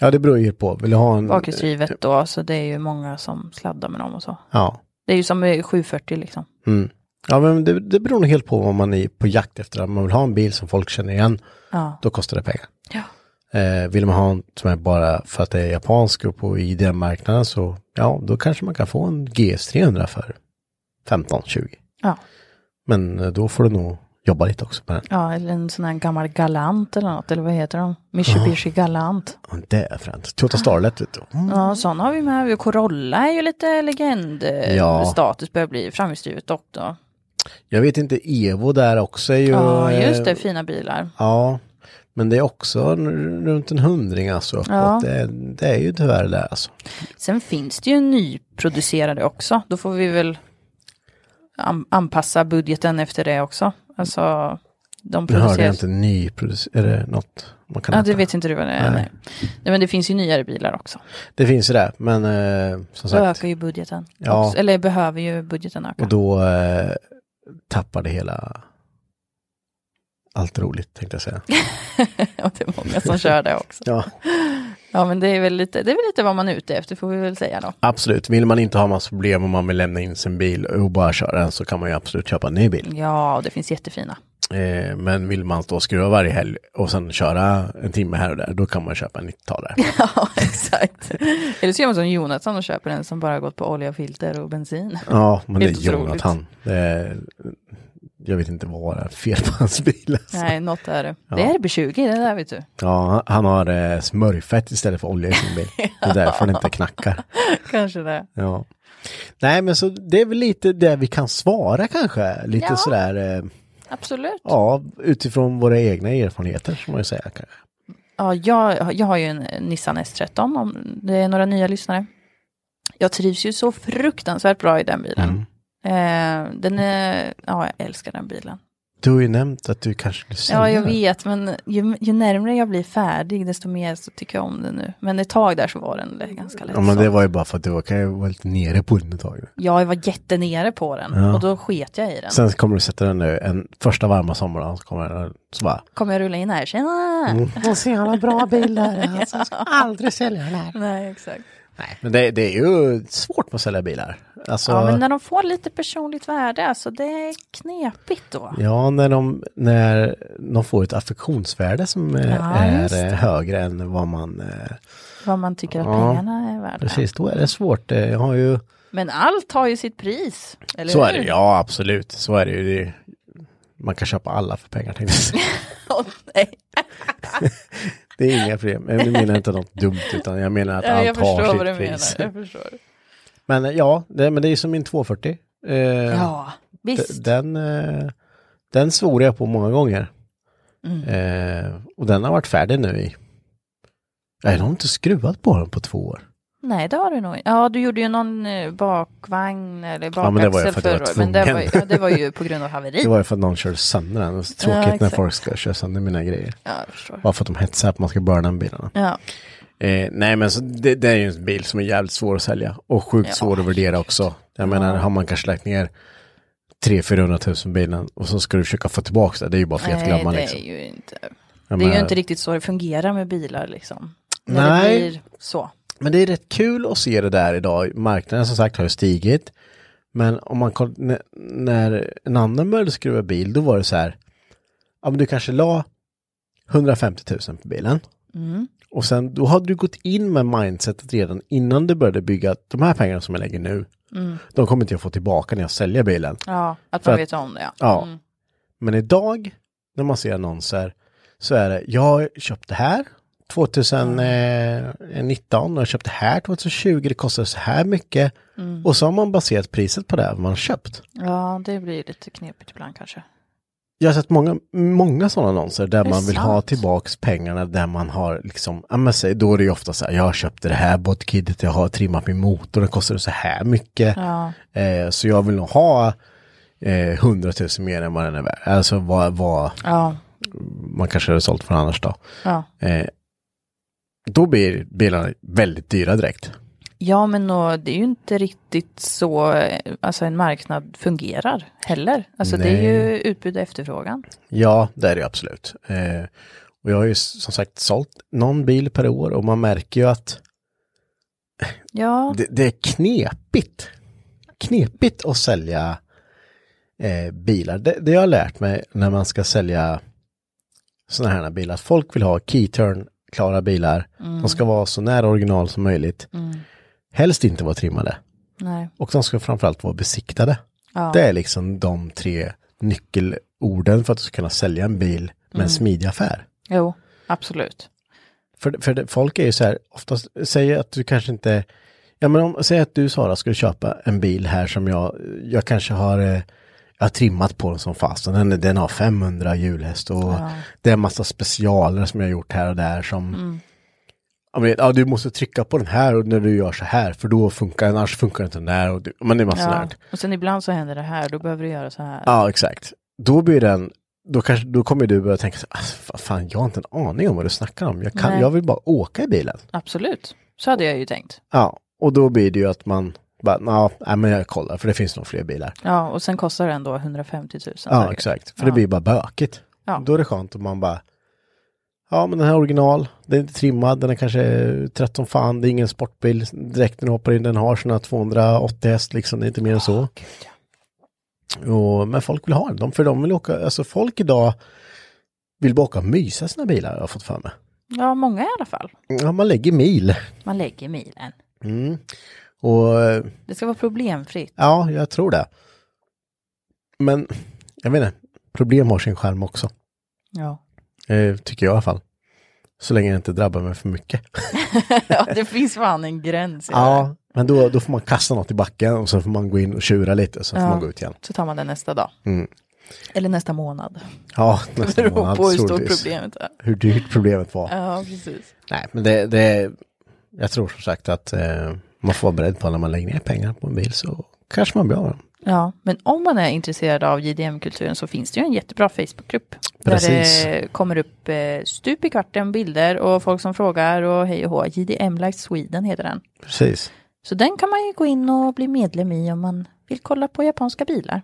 S1: Ja det beror ju på. Vill du ha en...
S2: bakhjulsdrivet
S1: typ.
S2: då, så det är ju många som sladdar med dem och så.
S1: Ja.
S2: Det är ju som eh, 740 liksom.
S1: Mm. Ja, men det, det beror nog helt på vad man är på jakt efter. Om man vill ha en bil som folk känner igen,
S2: Ja.
S1: då kostar det pengar.
S2: Ja.
S1: Eh, vill man ha en som är bara för att det är japansk och på i den marknaden så, ja, då kanske man kan få en GS300 för 15-20.
S2: Ja.
S1: Men eh, då får du nog jobba lite också med den.
S2: ja, eller en sån här gammal galant eller något, eller vad heter de? Mitsubishi galant.
S1: Och det är fränt.
S2: Ah.
S1: Toyota Starlet, vet du. Mm.
S2: Ja, sådana har vi med. Corolla är ju lite
S1: Ja.
S2: legendstatus börjar bli framhjulsdrivet dock då.
S1: Jag vet inte, Evo där också är ju...
S2: Ja, just det,
S1: eh,
S2: fina bilar.
S1: Ja, Men det är också n- runt en hundring alltså uppåt.
S2: Ja.
S1: Det, är- det är ju tyvärr det där alltså.
S2: Sen finns det ju nyproducerade också. Då får vi väl an- anpassa budgeten efter det också. Alltså, de
S1: Nu hörde jag
S2: produceras...
S1: inte nyproducerat, är det något man kan
S2: Ja,
S1: äta?
S2: det vet inte du vad det är. Nej. Nej. men det finns ju nyare bilar också.
S1: Det finns ju det, men eh, som
S2: Då
S1: sagt.
S2: ökar ju budgeten.
S1: Ja.
S2: Också, eller behöver ju budgeten öka.
S1: Och då eh, tappar det hela allt roligt tänkte jag
S2: [LAUGHS]
S1: säga.
S2: [LAUGHS] Och det är många som kör det också.
S1: Ja,
S2: Ja, men det är, väl lite, det är väl lite vad man är ute efter får vi väl säga då.
S1: absolut. Vill man inte ha massa problem om man vill lämna in sin bil och bara köra den så kan man ju absolut köpa en ny bil.
S2: Ja, och det finns jättefina.
S1: Eh, men vill man stå och skruva varje helg och sen köra en timme här och där, då kan man köpa en
S2: [LAUGHS]
S1: 90-talare.
S2: [LAUGHS] Ja, exakt. Eller så gör man som Jonathan och köper en som bara gått på olja, filter och [LAUGHS] bensin.
S1: Ja, men det är
S2: Helt otroligt.
S1: Jonathan. Det är, jag vet inte vad det är fel på hans bil. Alltså.
S2: Nej, något är det. Det är RB20, det där vet du.
S1: [LAUGHS] Ja, han har eh, smörjfett istället för olja i sin
S2: [LAUGHS]
S1: bil. Det är därför han inte knackar.
S2: Kanske det.
S1: Ja. Nej, men så det är väl lite det vi kan svara kanske. Lite
S2: Ja.
S1: sådär, eh,
S2: Absolut.
S1: ja, utifrån våra egna erfarenheter, som man ju säga kanske.
S2: Ja, jag, jag har ju en Nissan S13 om det är några nya lyssnare. Jag trivs ju så fruktansvärt bra i den bilen.
S1: Mm.
S2: Eh, den är, ja, jag älskar den bilen.
S1: Du har ju nämnt att du kanske skulle sälja
S2: Ja, jag
S1: den.
S2: vet, men ju, ju närmare jag blir färdig, desto mer så tycker jag om den nu. Men ett tag där så var den l- ganska lätt.
S1: Ja, men det
S2: såld.
S1: var ju bara för att du var, kan ju vara lite nere på den ett tag.
S2: Ja, jag var jättenere på den
S1: Ja.
S2: och då sket jag i den.
S1: Sen kommer du sätta den nu, en första varma sommaren, så kommer den, så bara, mm.
S2: Kommer jag rulla in här, tjena!
S1: Och se alla bra
S2: [LAUGHS]
S1: bilar. Alltså, jag ska aldrig sälja den här.
S2: Nej, exakt.
S1: Nej, men det, det är ju svårt med att sälja bilar. Alltså,
S2: Ja, men när de får lite personligt värde, alltså det är knepigt då.
S1: ja, när de, när de får ett affektionsvärde som eh,
S2: Ja, just
S1: är
S2: det.
S1: eh, högre än vad man... eh,
S2: Vad man tycker att
S1: Ja,
S2: pengarna är värda.
S1: Precis, då är det svårt. Eh, Jag har ju...
S2: Men allt har ju sitt pris, eller
S1: Så
S2: hur?
S1: är det, ja absolut. Så är det ju. Det, är- man kan köpa alla för pengar tänkte jag
S2: [LAUGHS]
S1: säga.
S2: Åh, [LAUGHS] nej.
S1: Det är inga problem. Jag menar inte något dumt utan jag menar att
S2: Jag
S1: allt har
S2: förstår vad du
S1: sitt
S2: menar.
S1: pris.
S2: Jag förstår.
S1: Men eh, ja, det, men det är ju som min 240. Eh,
S2: Ja,
S1: D-
S2: visst.
S1: Den, eh, den svor jag på många gånger.
S2: Mm.
S1: Eh, och den har varit färdig nu i... Nej, de har inte skruvat på den på två år.
S2: Nej, det har du nog Ja, du gjorde ju någon eh, bakvagn eller
S1: Ja, men det var ju
S2: bakaxel
S1: för att jag var
S2: förra året. Men det var, ju-
S1: tvungen.
S2: ja, det var ju på grund av
S1: [LAUGHS]
S2: haveri.
S1: Det var ju för att någon körde sönder den. Det är så tråkigt när
S2: exakt.
S1: folk ska köra sönder mina grejer.
S2: Ja, jag förstår.
S1: Bara för att de hetsar att man ska börna den bilarna.
S2: Ja,
S1: Eh, nej, men så det, det är ju en bil som är jävligt svår att sälja. Och sjukt
S2: Ja.
S1: svår att värdera också. Jag menar, har man kanske lagt ner 300-400 000 på bilen och så ska du försöka få tillbaka det. Det är ju bara fet
S2: nej,
S1: glömma
S2: det
S1: liksom.
S2: är ju inte.
S1: Jag
S2: Det är ju
S1: menar-
S2: inte riktigt så det fungerar med bilar liksom.
S1: Nej.
S2: När det blir så.
S1: Men det är rätt kul att se det där idag. Marknaden som sagt har ju stigit. Men om man koll, n- när en annan började skruva bil, då var det så här. Ja, men du kanske la 150 000 på bilen. Och sen då hade du gått in med mindsetet redan innan du började bygga att de här pengarna som jag lägger nu. De kommer inte jag få tillbaka när jag säljer bilen.
S2: Ja, att
S1: För
S2: man
S1: att-
S2: vet om det. Ja. Mm.
S1: Ja. Men idag när man ser annonser så är det, jag har köpt det här 2019 och jag har köpt det här 2020, det kostar så här mycket.
S2: Mm.
S1: Och så har man baserat priset på det här man har köpt.
S2: ja, det blir ju lite knepigt ibland kanske.
S1: Jag har sett många, många sådana annonser där
S2: det
S1: man vill ha
S2: sant?
S1: tillbaks pengarna där man har liksom, ja men säg, då är det ju ofta så här, jag köpte det här botkidet, jag har trimmat min motor, den kostar så här mycket.
S2: Ja,
S1: Eh, så jag vill nog ha eh, 100 000 mer än vad den är värd. Alltså vad, vad
S2: ja,
S1: man kanske hade sålt från annars då.
S2: ja.
S1: Eh, då blir bilarna väldigt dyra direkt.
S2: Ja, men nå, det är ju inte riktigt så eh, alltså, en marknad fungerar heller. Alltså det är ju utbud och efterfrågan.
S1: Ja, det är det absolut. Eh, och jag har ju s- som sagt sålt någon bil per år och man märker ju att
S2: Ja,
S1: det, det är knepigt. Knepigt att sälja eh, bilar. Det, det jag har lärt mig när man ska sälja sådana här bilar, att folk vill ha keyturn klara bilar. De ska vara så nära original som möjligt. Helst inte vara trimmade.
S2: nej.
S1: Och de ska framförallt vara besiktade. Det är liksom de tre nyckelorden för att du ska kunna sälja en bil med en smidig affär.
S2: Jo, absolut.
S1: För, för det, folk är ju så här, oftast säger att du kanske inte, ja men om, säg att du Sara skulle köpa en bil här som jag, jag kanske har, eh, Jag har trimmat på den som fasen. Den, den har 500 hjulhäst och det är en massa specialer som jag har gjort här och där som ja, men, ja, du måste trycka på den här och när du gör så här för då funkar den, annars funkar inte den där. Och du, men det är massa
S2: Ja.
S1: sånt där.
S2: Och sen ibland så händer det här, då behöver du göra så här.
S1: Ja, exakt. Då blir den, då, kanske, då kommer du börja tänka så här, "Alltså, vad fan jag har inte en aning om vad du snackar om. Jag, kan,
S2: Nej.
S1: jag vill bara åka i bilen.
S2: Absolut. Så hade jag ju tänkt.
S1: Ja, och då blir det ju att man bara, "Nå, nej men jag kollar för det finns nog fler bilar.
S2: Ja, och sen kostar den då 150 000.
S1: Ja,
S2: säkert.
S1: exakt. För
S2: Ja.
S1: det blir bara bökigt.
S2: Ja.
S1: Då är det skönt om man bara, ja men den här är original, den är inte trimmad, den är kanske trött som fan, det är ingen sportbil. Direkt när du hoppar in, den har sina 280 häst liksom, det är inte mer än så. Och, men folk vill ha den, de, för de vill åka, alltså folk idag vill bara åka och mysa i sina bilar, har jag fått för mig.
S2: Ja, många i alla fall.
S1: Ja, man lägger mil.
S2: Man lägger milen.
S1: Mm. Och eh,
S2: Det ska vara problemfritt.
S1: ja, jag tror det. Men, jag vet inte, problem har sin skärm också.
S2: Ja.
S1: Eh, tycker jag i alla fall. Så länge det inte drabbar mig för mycket.
S2: [LAUGHS] ja, det finns fan en gräns. i det här.
S1: Ja, men då, då får man kasta något i backen och så får man gå in och tjura lite och så får
S2: Ja.
S1: man gå ut igen.
S2: Så tar man den nästa dag.
S1: Mm.
S2: Eller nästa månad.
S1: Ja,
S2: [LAUGHS] Det
S1: nästa
S2: beror
S1: månad
S2: på hur stort
S1: troligtvis.
S2: problemet är.
S1: Hur dyrt problemet var.
S2: Ja, precis.
S1: Nej, men det, det, jag tror som sagt att eh, man får vara beredd på när man lägger ner pengar på en bil så kanske man blir av med den.
S2: Ja, men om man är intresserad av JDM-kulturen så finns det ju en jättebra Facebookgrupp. Där
S1: Precis.
S2: det kommer upp eh, stup i kvarten bilder och folk som frågar och hej och hå. JDM Like Sweden heter den.
S1: Precis.
S2: Så den kan man ju gå in och bli medlem i om man vill kolla på japanska bilar.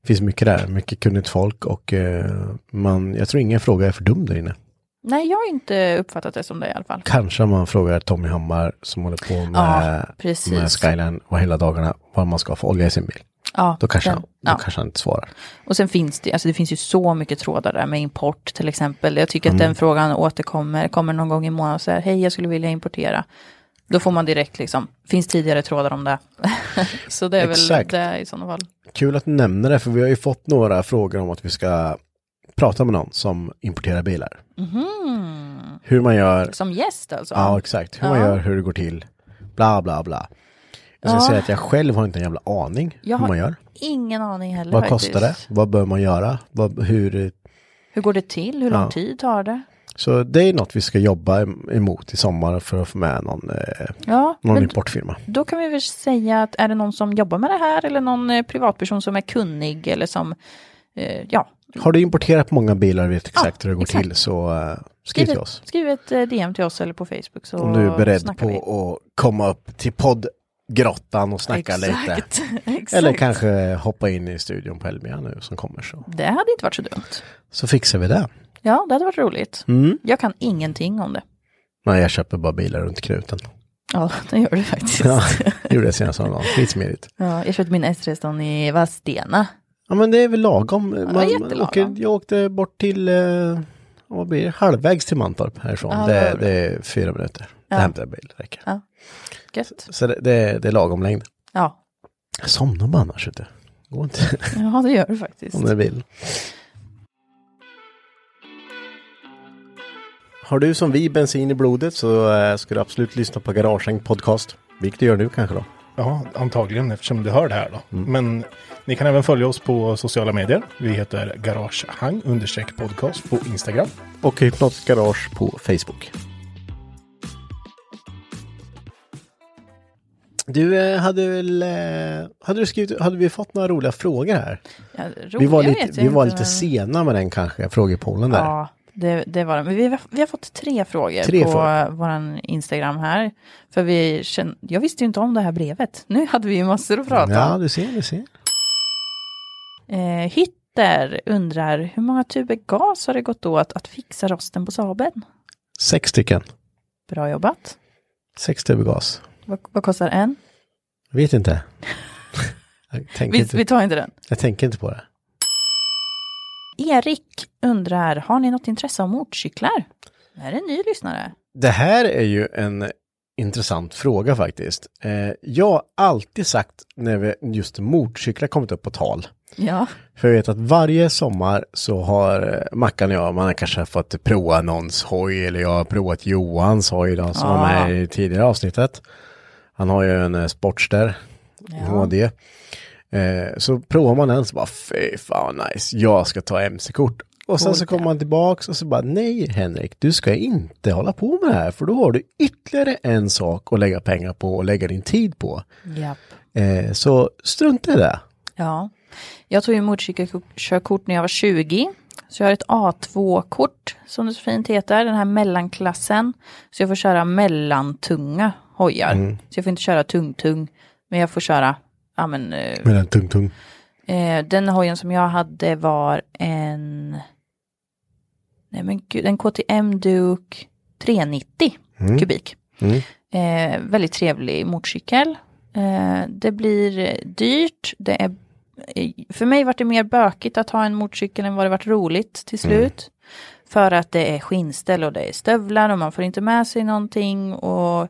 S1: Det finns mycket där, mycket kunnigt folk och eh, man, jag tror ingen fråga är för dum där inne.
S2: Nej, jag har inte uppfattat det som det i alla fall.
S1: Kanske om man frågar Tommy Hammar som håller på med,
S2: Ja, precis.
S1: med Skyline och hela dagarna vad man ska få olja i sin bil.
S2: Ja,
S1: Då kanske,
S2: den-
S1: han, då
S2: ja.
S1: kanske han inte svarar.
S2: Och sen finns det, alltså det finns ju så mycket trådar där med import till exempel. Jag tycker
S1: Mm.
S2: att den frågan återkommer, kommer någon gång i månaden och säger hej jag skulle vilja importera. Då får man direkt liksom, finns tidigare trådar om det. [LAUGHS] så det är
S1: Exakt.
S2: väl det i sådana fall.
S1: Kul att du nämner det, för vi har ju fått några frågor om att vi ska prata med någon som importerar bilar. Hur man gör,
S2: Som gäst alltså.
S1: ja exakt, hur man
S2: Mm-hmm. Ja.
S1: gör, hur det går till, bla bla bla. Jag ska
S2: Ja.
S1: säga att jag själv har inte en jävla aning
S2: Jag
S1: hur
S2: har
S1: man gör.
S2: Ingen aning heller
S1: Vad
S2: faktiskt.
S1: kostar det? Vad bör man göra? Vad, hur,
S2: Hur går det till? Hur lång
S1: Ja.
S2: tid tar det?
S1: så det är något vi ska jobba em- emot i sommar för att få med någon, eh,
S2: Ja,
S1: någon
S2: men
S1: importfirma.
S2: då kan vi väl säga att är det någon som jobbar med det här eller någon eh, privatperson som är kunnig eller som, eh, ja,
S1: Har du importerat många bilar och vet exakt hur det går
S2: exakt.
S1: till så eh, skriv
S2: skriv,
S1: till
S2: ett-
S1: oss.
S2: skriv ett eh, DM till oss eller på Facebook så
S1: Om du är beredd
S2: snackar
S1: på
S2: vi.
S1: att komma upp till poddgrottan och snacka lite.
S2: Exakt. [LAUGHS] Exakt.
S1: Eller kanske hoppa in i studion på Elmia nu som kommer så.
S2: Det hade inte varit så dumt.
S1: Så fixar vi det.
S2: Ja, det hade varit roligt.
S1: Mm.
S2: Jag kan ingenting om det.
S1: Nej, jag köper bara bilar runt knuten.
S2: Ja, [LAUGHS] det gör du faktiskt.
S1: Ja,
S2: Ja.
S1: det gjorde jag senast häromdagen. Skitsmidigt.
S2: jag köpte min S13 i Vadstena.
S1: Ja, men det är väl lagom. Man, man
S2: jättelagom.
S1: åker, jag åkte bort till, eh, vad blir det, halvvägs till Mantorp härifrån.
S2: Ja, det
S1: det,
S2: var bra.
S1: det är fyra minuter. Det
S2: Ja.
S1: hämtar jag bil, det räcker.
S2: Gött.
S1: Så det, det, det är lagom längd.
S2: Ja.
S1: Jag somnar bara annars ute. Går inte [LAUGHS]
S2: ja, det gör du faktiskt.
S1: om det är bilen. Har du som vi bensin i blodet så eh, ska du absolut lyssna på Garagehäng podcast. Vilket du gör nu kanske då.
S6: Ja, antagligen eftersom du hör det här då.
S7: Mm.
S6: Men ni kan även följa oss på sociala medier. Vi heter Garagehang understreck podcast på Instagram.
S1: Och Hypnotisk Garage på Facebook. Du eh, hade väl, eh, hade du skrivit, hade vi fått några roliga frågor här?
S2: Ja,
S1: vi var
S2: roliga
S1: lite,
S2: vet jag
S1: vi var
S2: inte,
S1: lite
S2: men-
S1: sena med den kanske, frågepoolen där.
S2: Ja, det, det var det. Men vi, har- vi har fått tre frågor
S1: Tre
S2: på
S1: frågor.
S2: vår Instagram här. För vi kände, jag visste ju inte om det här brevet. [LAUGHS] Nu hade vi ju massor att prata om.
S1: ja du ser, du ser.
S2: Eh, Hytter undrar hur många tuber gas har det gått åt att fixa rosten på Saaben?
S1: Sex stycken.
S2: Bra jobbat.
S1: Sex tuber gas.
S2: Vad, vad kostar en?
S1: Vet inte. Jag tänker,
S2: Vi,
S1: inte,
S2: vi tar inte den.
S1: jag tänker inte på det.
S2: Erik undrar, har ni något intresse av motorcyklar? Det här är en ny lyssnare.
S1: Det här är ju en intressant fråga faktiskt. Eh, jag har alltid sagt när vi, just motorcyklar kommit upp på tal.
S2: Ja.
S1: För jag vet att varje sommar så har eh, Mackan och jag, man har kanske fått prova någons hoj eller jag har provat Johans hoj då, som var med i tidigare avsnittet. Han har ju en eh, Sportster, HD. Eh, så provar man den så bara fy fan vad nice, jag ska ta MC-kort. Och sen så kommer man tillbaks och så bara nej Henrik, du ska inte hålla på med det här för då har du ytterligare en sak att lägga pengar på och lägga din tid på.
S2: Japp.
S1: Eh, så strunta i det.
S2: Ja. Jag tog ju motorcykelkörkort när jag var 20. Så jag har ett A2-kort som det så fint heter, den här mellanklassen. Så jag får köra mellantunga hojar. Så jag får inte köra tung-tung, men jag får köra, ja men, eh,
S1: Med den tung-tung.
S2: eh, den hojen som jag hade var en, nej men gud, en KTM Duke 390
S1: Mm.
S2: kubik. Eh, väldigt trevlig motorcykel. Eh, det blir eh, dyrt. Det är, eh, för mig var det mer bökigt att ha en motorcykel än vad det varit roligt till
S1: Mm.
S2: slut. För att det är skinnställ och det är stövlar och man får inte med sig någonting. Och,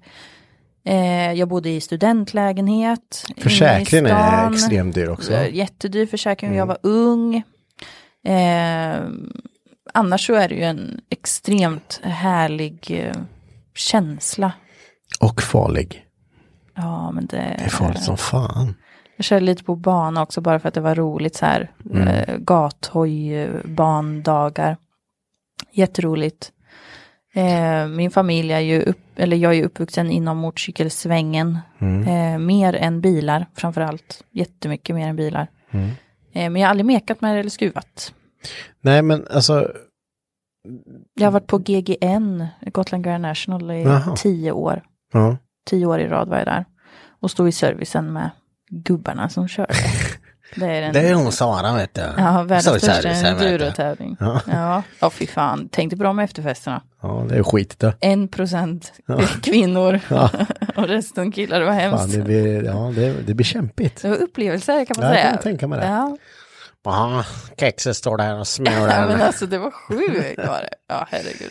S2: eh, jag bodde i studentlägenhet. inne i
S1: Försäkringen är
S2: stan.
S1: extremt dyr också. Mm.
S2: Eh, Jättedyr försäkring och jag var ung. Eh, annars så är det ju en extremt härlig eh, känsla
S1: Och farlig.
S2: Ja, men det...
S1: Det är farligt som fan.
S2: Jag körde lite på bana också bara för att det var roligt så här.
S1: Mm.
S2: Eh, gathoj, eh, bandagar. Jätteroligt. Eh, min familj är ju upp, eller jag är ju uppvuxen inom motorcykelsvängen.
S1: Mm.
S2: Eh, mer än bilar framför allt. Jättemycket mer än bilar.
S1: Mm.
S2: Eh, men jag har aldrig mekat med det eller skruvat.
S1: Nej men alltså,
S2: Jag har varit på GGN, Gotland Grand National, i
S1: Jaha.
S2: tio år.
S1: ja.
S2: tio år i rad var jag där. Och stod i servicen med gubbarna
S1: [LAUGHS]
S2: som körde. Det är den
S1: Det är hon Sara vet du.
S2: ja, världens
S1: Sorry,
S2: största
S1: sorry, sorry, vet du.
S2: endurotävling. Ja. Ja. fy fan. Tänk dig bra med efterfesterna.
S1: Ja det är skit det.
S2: En procent kvinnor [LAUGHS] och resten killar. Det var
S1: Fan,
S2: hemskt.
S1: det, blir, ja, det, det blir kämpigt.
S2: det var upplevelser kan man
S1: Ja, jag
S2: säga.
S1: kan tänka mig det.
S2: Ja.
S1: Ja, kexet står där och
S2: [LAUGHS] ja, men
S1: smular.
S2: alltså det var sjukt var det. Ja, herregud.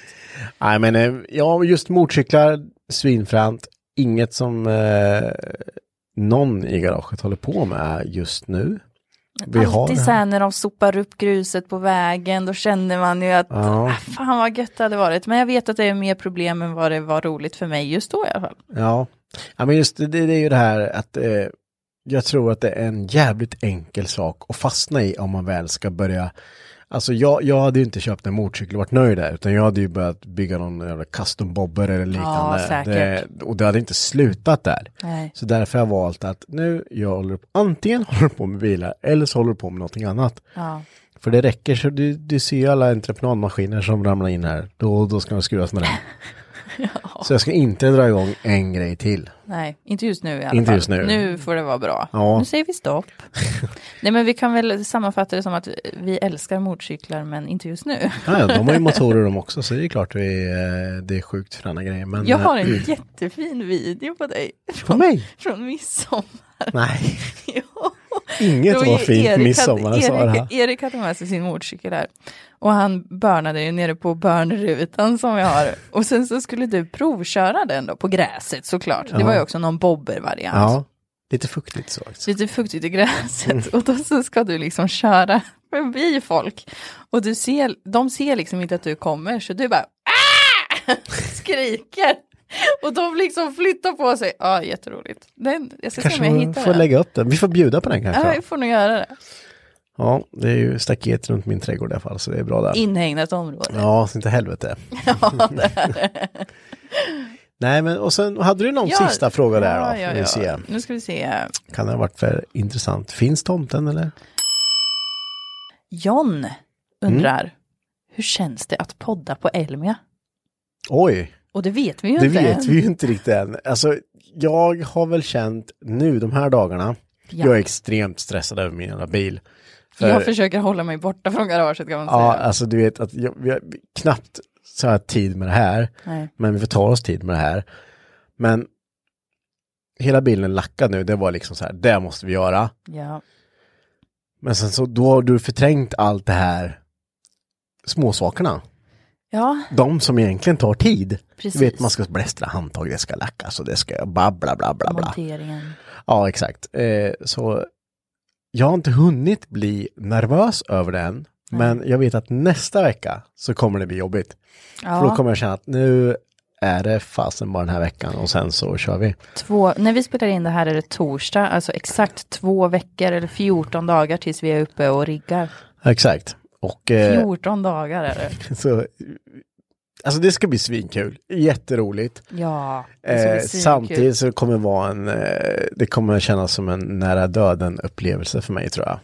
S1: Nej, men eh, ja, just motorcyklar, svinfränt. Inget som eh, någon i garaget håller på med just nu. Vi har
S2: Alltid
S1: det
S2: så
S1: här.
S2: här när de sopar upp gruset på vägen, då känner man ju att
S1: Ja.
S2: ah, fan vad gött det hade varit. Men jag vet att det är mer problem än vad det var roligt för mig just då i alla fall.
S1: Ja. ja, men just det, det är ju det här att eh, jag tror att det är en jävligt enkel sak att fastna i om man väl ska börja. Alltså jag, jag hade ju inte köpt en motorcykel och varit nöjd där, utan jag hade ju börjat bygga någon jävla custom bobber eller liknande.
S2: säkert.
S1: Det, och det hade inte slutat där.
S2: Nej.
S1: Så därför har jag valt att nu, jag håller, antingen [LAUGHS] håller på med bilar eller så håller jag på med någonting annat.
S2: Ja.
S1: För det räcker, så du, du ser ju alla entreprenadmaskiner som ramlar in här, då, då ska de skruvas
S2: [LAUGHS]
S1: med den. Så jag ska inte dra igång en grej till.
S2: Nej, inte just nu i alla
S1: Inte
S2: fall.
S1: just nu.
S2: nu får det vara bra.
S1: Ja.
S2: Nu säger
S1: [LAUGHS]
S2: vi stopp. Nej men vi kan väl sammanfatta det som att vi älskar motorcyklar men inte just nu.
S1: Ja, ja, de har ju motorer de också, så det är klart vi, eh, det är sjukt fräna grejer. Men,
S2: Jag har
S1: eh, [LAUGHS]
S2: en jättefin video på dig.
S1: På mig?
S2: Från midsommar. [LAUGHS]
S1: Nej,
S2: Jo.
S1: inget
S2: Då
S1: var fint
S2: Erik hade-
S1: midsommar, sa det här.
S2: Erik, Erik hade med sig sin motorcykel där. Och han börnade ju nere på börnrutan som vi har. Och sen så skulle du provköra den då, på gräset såklart. Det var ju också någon bobbervariant.
S1: Ja, lite fuktigt så. också.
S2: lite fuktigt i
S1: Mm.
S2: gräset och då så ska du liksom köra förbi folk och du ser, de ser liksom inte att du kommer så du bara "Ah!" [LAUGHS] skriker och de liksom flyttar på sig. Ja, jätteroligt. Den, jag ska
S1: Kanske
S2: se om jag
S1: man
S2: hittar
S1: får
S2: den.
S1: lägga upp den. Vi får bjuda på den
S2: Ja,
S1: kanske.
S2: vi får nog göra det.
S1: Ja, det är ju staket runt min trädgård i alla fall, så det är bra där.
S2: Inhägnat område.
S1: Ja, så inte helvete.
S2: [LAUGHS]
S1: [LAUGHS] Nej, men och sen hade du någon
S2: Ja,
S1: sista fråga där då?
S2: ja,
S1: Får
S2: ja,
S1: vi
S2: ja.
S1: se.
S2: Nu ska vi se.
S1: Kan det ha varit för intressant? Finns tomten eller?
S2: John undrar,
S1: Mm.
S2: hur känns det att podda på Elmia?
S1: Oj,
S2: Och det vet vi ju
S1: det
S2: inte.
S1: vet
S2: än.
S1: vi ju inte riktigt än. Alltså, jag har väl känt nu de här dagarna,
S2: Ja.
S1: jag är extremt stressad över min jävla bil. För-
S2: Jag försöker hålla mig borta från garaget kan man säga.
S1: Eh, Ja, alltså du vet att jag, vi har knappt så här tid med det här,
S2: Nej.
S1: men vi får ta oss tid med det här. Men hela bilen lackad nu, det var liksom så här, det måste vi göra.
S2: ja.
S1: Men sen så, då har du förträngt allt det här småsakerna.
S2: ja.
S1: De som egentligen tar tid.
S2: Precis.
S1: Du vet, man ska blästra handtag, det ska lackas och det ska bla bla bla bla. bla.
S2: Monteringen.
S1: Ja, exakt. Eh, så jag har inte hunnit bli nervös över den, men jag vet att nästa vecka så kommer det bli jobbigt. För då
S2: Ja,
S1: kommer jag känna att nu är det fasen bara den här veckan och sen så kör vi.
S2: Två, när vi spelar in det här är det torsdag, alltså exakt två veckor eller 14 dagar tills vi är uppe och riggar.
S1: Exakt. Och eh,
S2: 14 dagar är det.
S1: så, alltså det ska bli svinkul, jätteroligt.
S2: Ja, det ska bli
S1: Eh,
S2: svinkul.
S1: samtidigt så kommer det vara en, eh, det kommer kännas som en nära döden upplevelse för mig tror jag.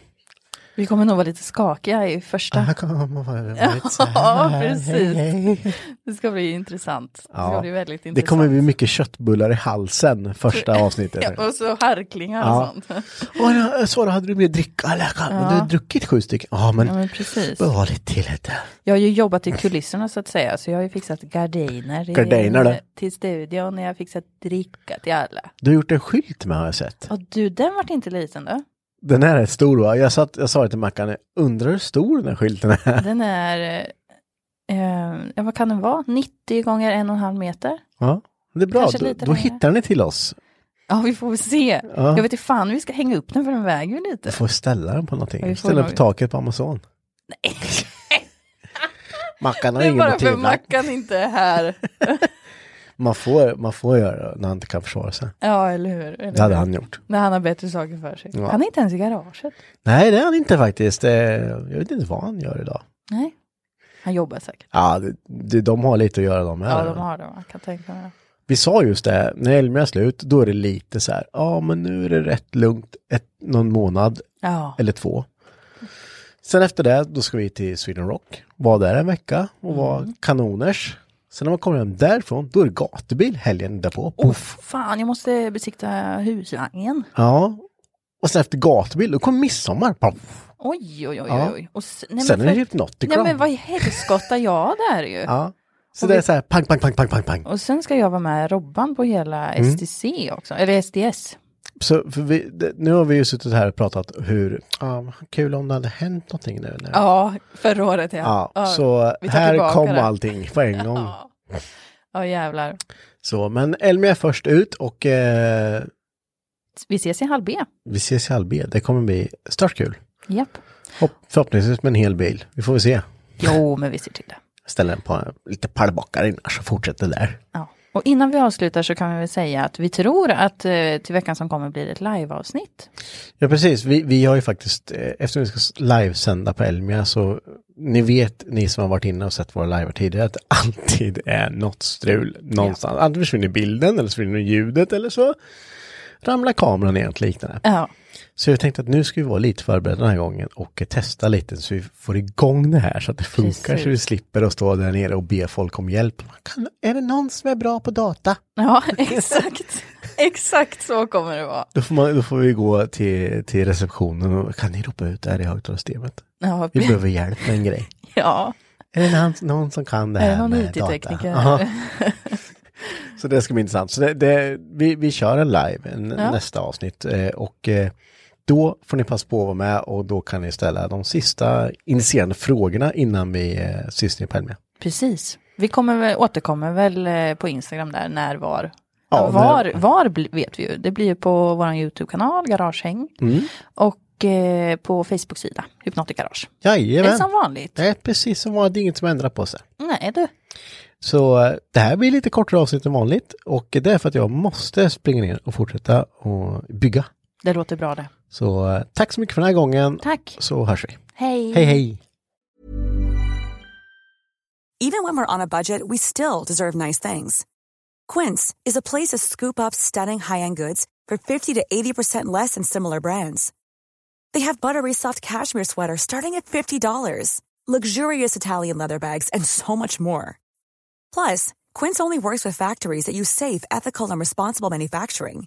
S2: Vi kommer nog vara lite skakiga i första.
S1: Ah, kom, vad var det?
S2: Ja, precis.
S1: Hej, hej.
S2: Det ska bli intressant. Det ska
S1: Ja.
S2: bli väldigt intressant.
S1: Det kommer bli mycket köttbullar i halsen första avsnittet.
S2: [LAUGHS] Ja, och så harklingar och
S1: Ja.
S2: sånt.
S1: Åh, ja, Sara, hade du mer dricka? Eller, kan-
S2: Ja.
S1: Du har druckit sju stycken. Ja, men
S2: Ja, men precis.
S1: behåll det till lite.
S2: Jag har ju jobbat i kulisserna så att säga, så jag har ju fixat gardiner, i-
S1: Gardiner, då?
S2: till studion, jag har fixat dricka till alla.
S1: Du har gjort en skylt med har jag sett.
S2: Och du, den vart inte liten då?
S1: Den här är rätt stor va? Jag, satt, jag sa det till Mackan, undrar hur stor den här skylten är?
S2: Den är, eh, eh, ja vad kan den vara, 90 gånger en och en halv meter?
S1: Ja, det är bra.
S2: Kanske
S1: Då,
S2: lite
S1: då
S2: längre.
S1: hittar ni till oss.
S2: Ja, vi får väl se.
S1: Ja.
S2: Jag vet inte fan hur vi ska hänga upp den för den väger ju lite.
S1: Du får ställa den på någonting.
S2: Ja,
S1: Vi
S2: vi får
S1: ställa den
S2: nog-
S1: på taket på Amazon. [LAUGHS] Mackan har
S2: Det är
S1: ingen
S2: bara
S1: att
S2: för
S1: tvivla.
S2: Mackan inte
S1: [LAUGHS]
S2: är här.
S1: Man får, man får göra det när han inte kan försvara sig.
S2: Ja, eller hur? Eller
S1: Det hade
S2: hur?
S1: han gjort.
S2: När han har bättre saker för sig.
S1: Ja.
S2: Han är inte ens i garaget.
S1: Nej, det är han inte faktiskt. Eh, Jag vet inte vad han gör idag.
S2: Nej. Han jobbar säkert.
S1: Ja, det- det, de har lite att göra de här.
S2: Ja, de har det. Man kan tänka mig det.
S1: Vi sa just det, när Elmia är slut, då är det lite så här, ja men nu är det rätt lugnt ett, någon månad
S2: Ja.
S1: eller två. Sen efter det, då ska vi till Sweden Rock, vara där en vecka och vara
S2: Mm.
S1: kanoners. Sen när man kommer hem därifrån, då är det gatubil helgen därpå.
S2: Oh,
S1: Puff.
S2: fan, jag måste besikta husvagnen.
S1: Ja. Och sen efter gatubil, då kommer midsommar. Puff.
S2: Oj, oj, oj.
S1: Ja.
S2: oj, oj. Och s- nej, men
S1: sen är det
S2: för-
S1: typ Notticon.
S2: Nej, men vad i helskotta jag där ju.
S1: Ja. Så
S2: Och
S1: det är
S2: vi-
S1: så här, pang, pang, pang, pang, pang, pang.
S2: Och sen ska jag vara med Robban på hela
S1: Mm.
S2: STC också. Eller SDS.
S1: Så för vi, det, nu har vi ju suttit här och pratat hur, ja, vad kul om det hade hänt någonting nu. När,
S2: Ja, förra året ja.
S1: Ja, så
S2: vi tar
S1: här
S2: tillbaka
S1: kom
S2: det.
S1: allting på en gång.
S2: Ja, Ja, jävlar.
S1: Så, men Elmia är först ut och eh,
S2: Vi ses i halv B.
S1: vi ses i halv B. Det kommer bli stört kul.
S2: Japp.
S1: Hopp, förhoppningsvis med en hel bil. Vi får väl se.
S2: Jo, men vi ser till det.
S1: Ställer den på lite pallbockar innan så fortsätter det där.
S2: Ja. Och innan vi avslutar så kan vi väl säga att vi tror att eh, till veckan som kommer blir det ett liveavsnitt.
S1: Ja precis, vi, vi har ju faktiskt, eh, eftersom vi ska s- livesända på Elmia så ni vet, ni som har varit inne och sett våra live tidigare, att [LAUGHS] det alltid är något strul någonstans. Antingen försvinner bilden eller så försvinner ljudet eller så ramlar kameran ner och något liknande.
S2: Ja.
S1: Så jag tänkte att nu ska vi vara lite förberedda den här gången och eh, testa lite så vi får igång det här så att det funkar
S2: Precis.
S1: så vi slipper att stå där nere och be folk om hjälp. Man Kan, är det någon som är bra på data?
S2: Ja, [LAUGHS] exakt. Exakt så kommer det vara.
S1: Då får, man, då får vi gå till, till receptionen och kan ni ropa ut det här i högtalarsystemet?
S2: Ja,
S1: Vi behöver hjälp med en grej.
S2: ja.
S1: Är det någon, någon som kan det här
S2: Är det någon
S1: med data?
S2: IT-tekniker?
S1: Ja. Så det ska bli intressant. Så det, det, vi, vi kör en live en,
S2: Ja.
S1: nästa avsnitt eh, och eh, då får ni passa på att vara med och då kan ni ställa de sista initierande frågorna innan vi eh, syns ner på Elmia.
S2: [LAUGHS] precis. Vi kommer väl, återkommer väl eh, på Instagram där, när, var.
S1: Ja,
S2: var,
S1: när-
S2: var bli- vet vi ju. Det blir ju på vår YouTube-kanal, Garagehäng.
S1: Mm.
S2: Och eh, på Facebook-sida, Hypnotic Garage. Det är
S1: Jajamän!
S2: som vanligt.
S1: Det är precis som vanligt, det är inget som ändrar på sig.
S2: Nej du.
S1: Så eh, det här blir lite kortare avsnitt än vanligt och det är för att jag måste springa ner och fortsätta och bygga.
S2: Det låter bra det.
S1: Så eh, tack så mycket för den här gången.
S2: Tack.
S1: Så hörs vi.
S2: Hej.
S1: Hej hej!
S8: Even when we're on a budget, we still deserve nice things. Quince is a place to scoop up stunning high end goods for 50 to 80% less than similar brands. They have buttery soft cashmere sweaters starting at $50, luxurious Italian leather bags, and so much more. Plus, Quince only works with factories that use safe, ethical, and responsible manufacturing.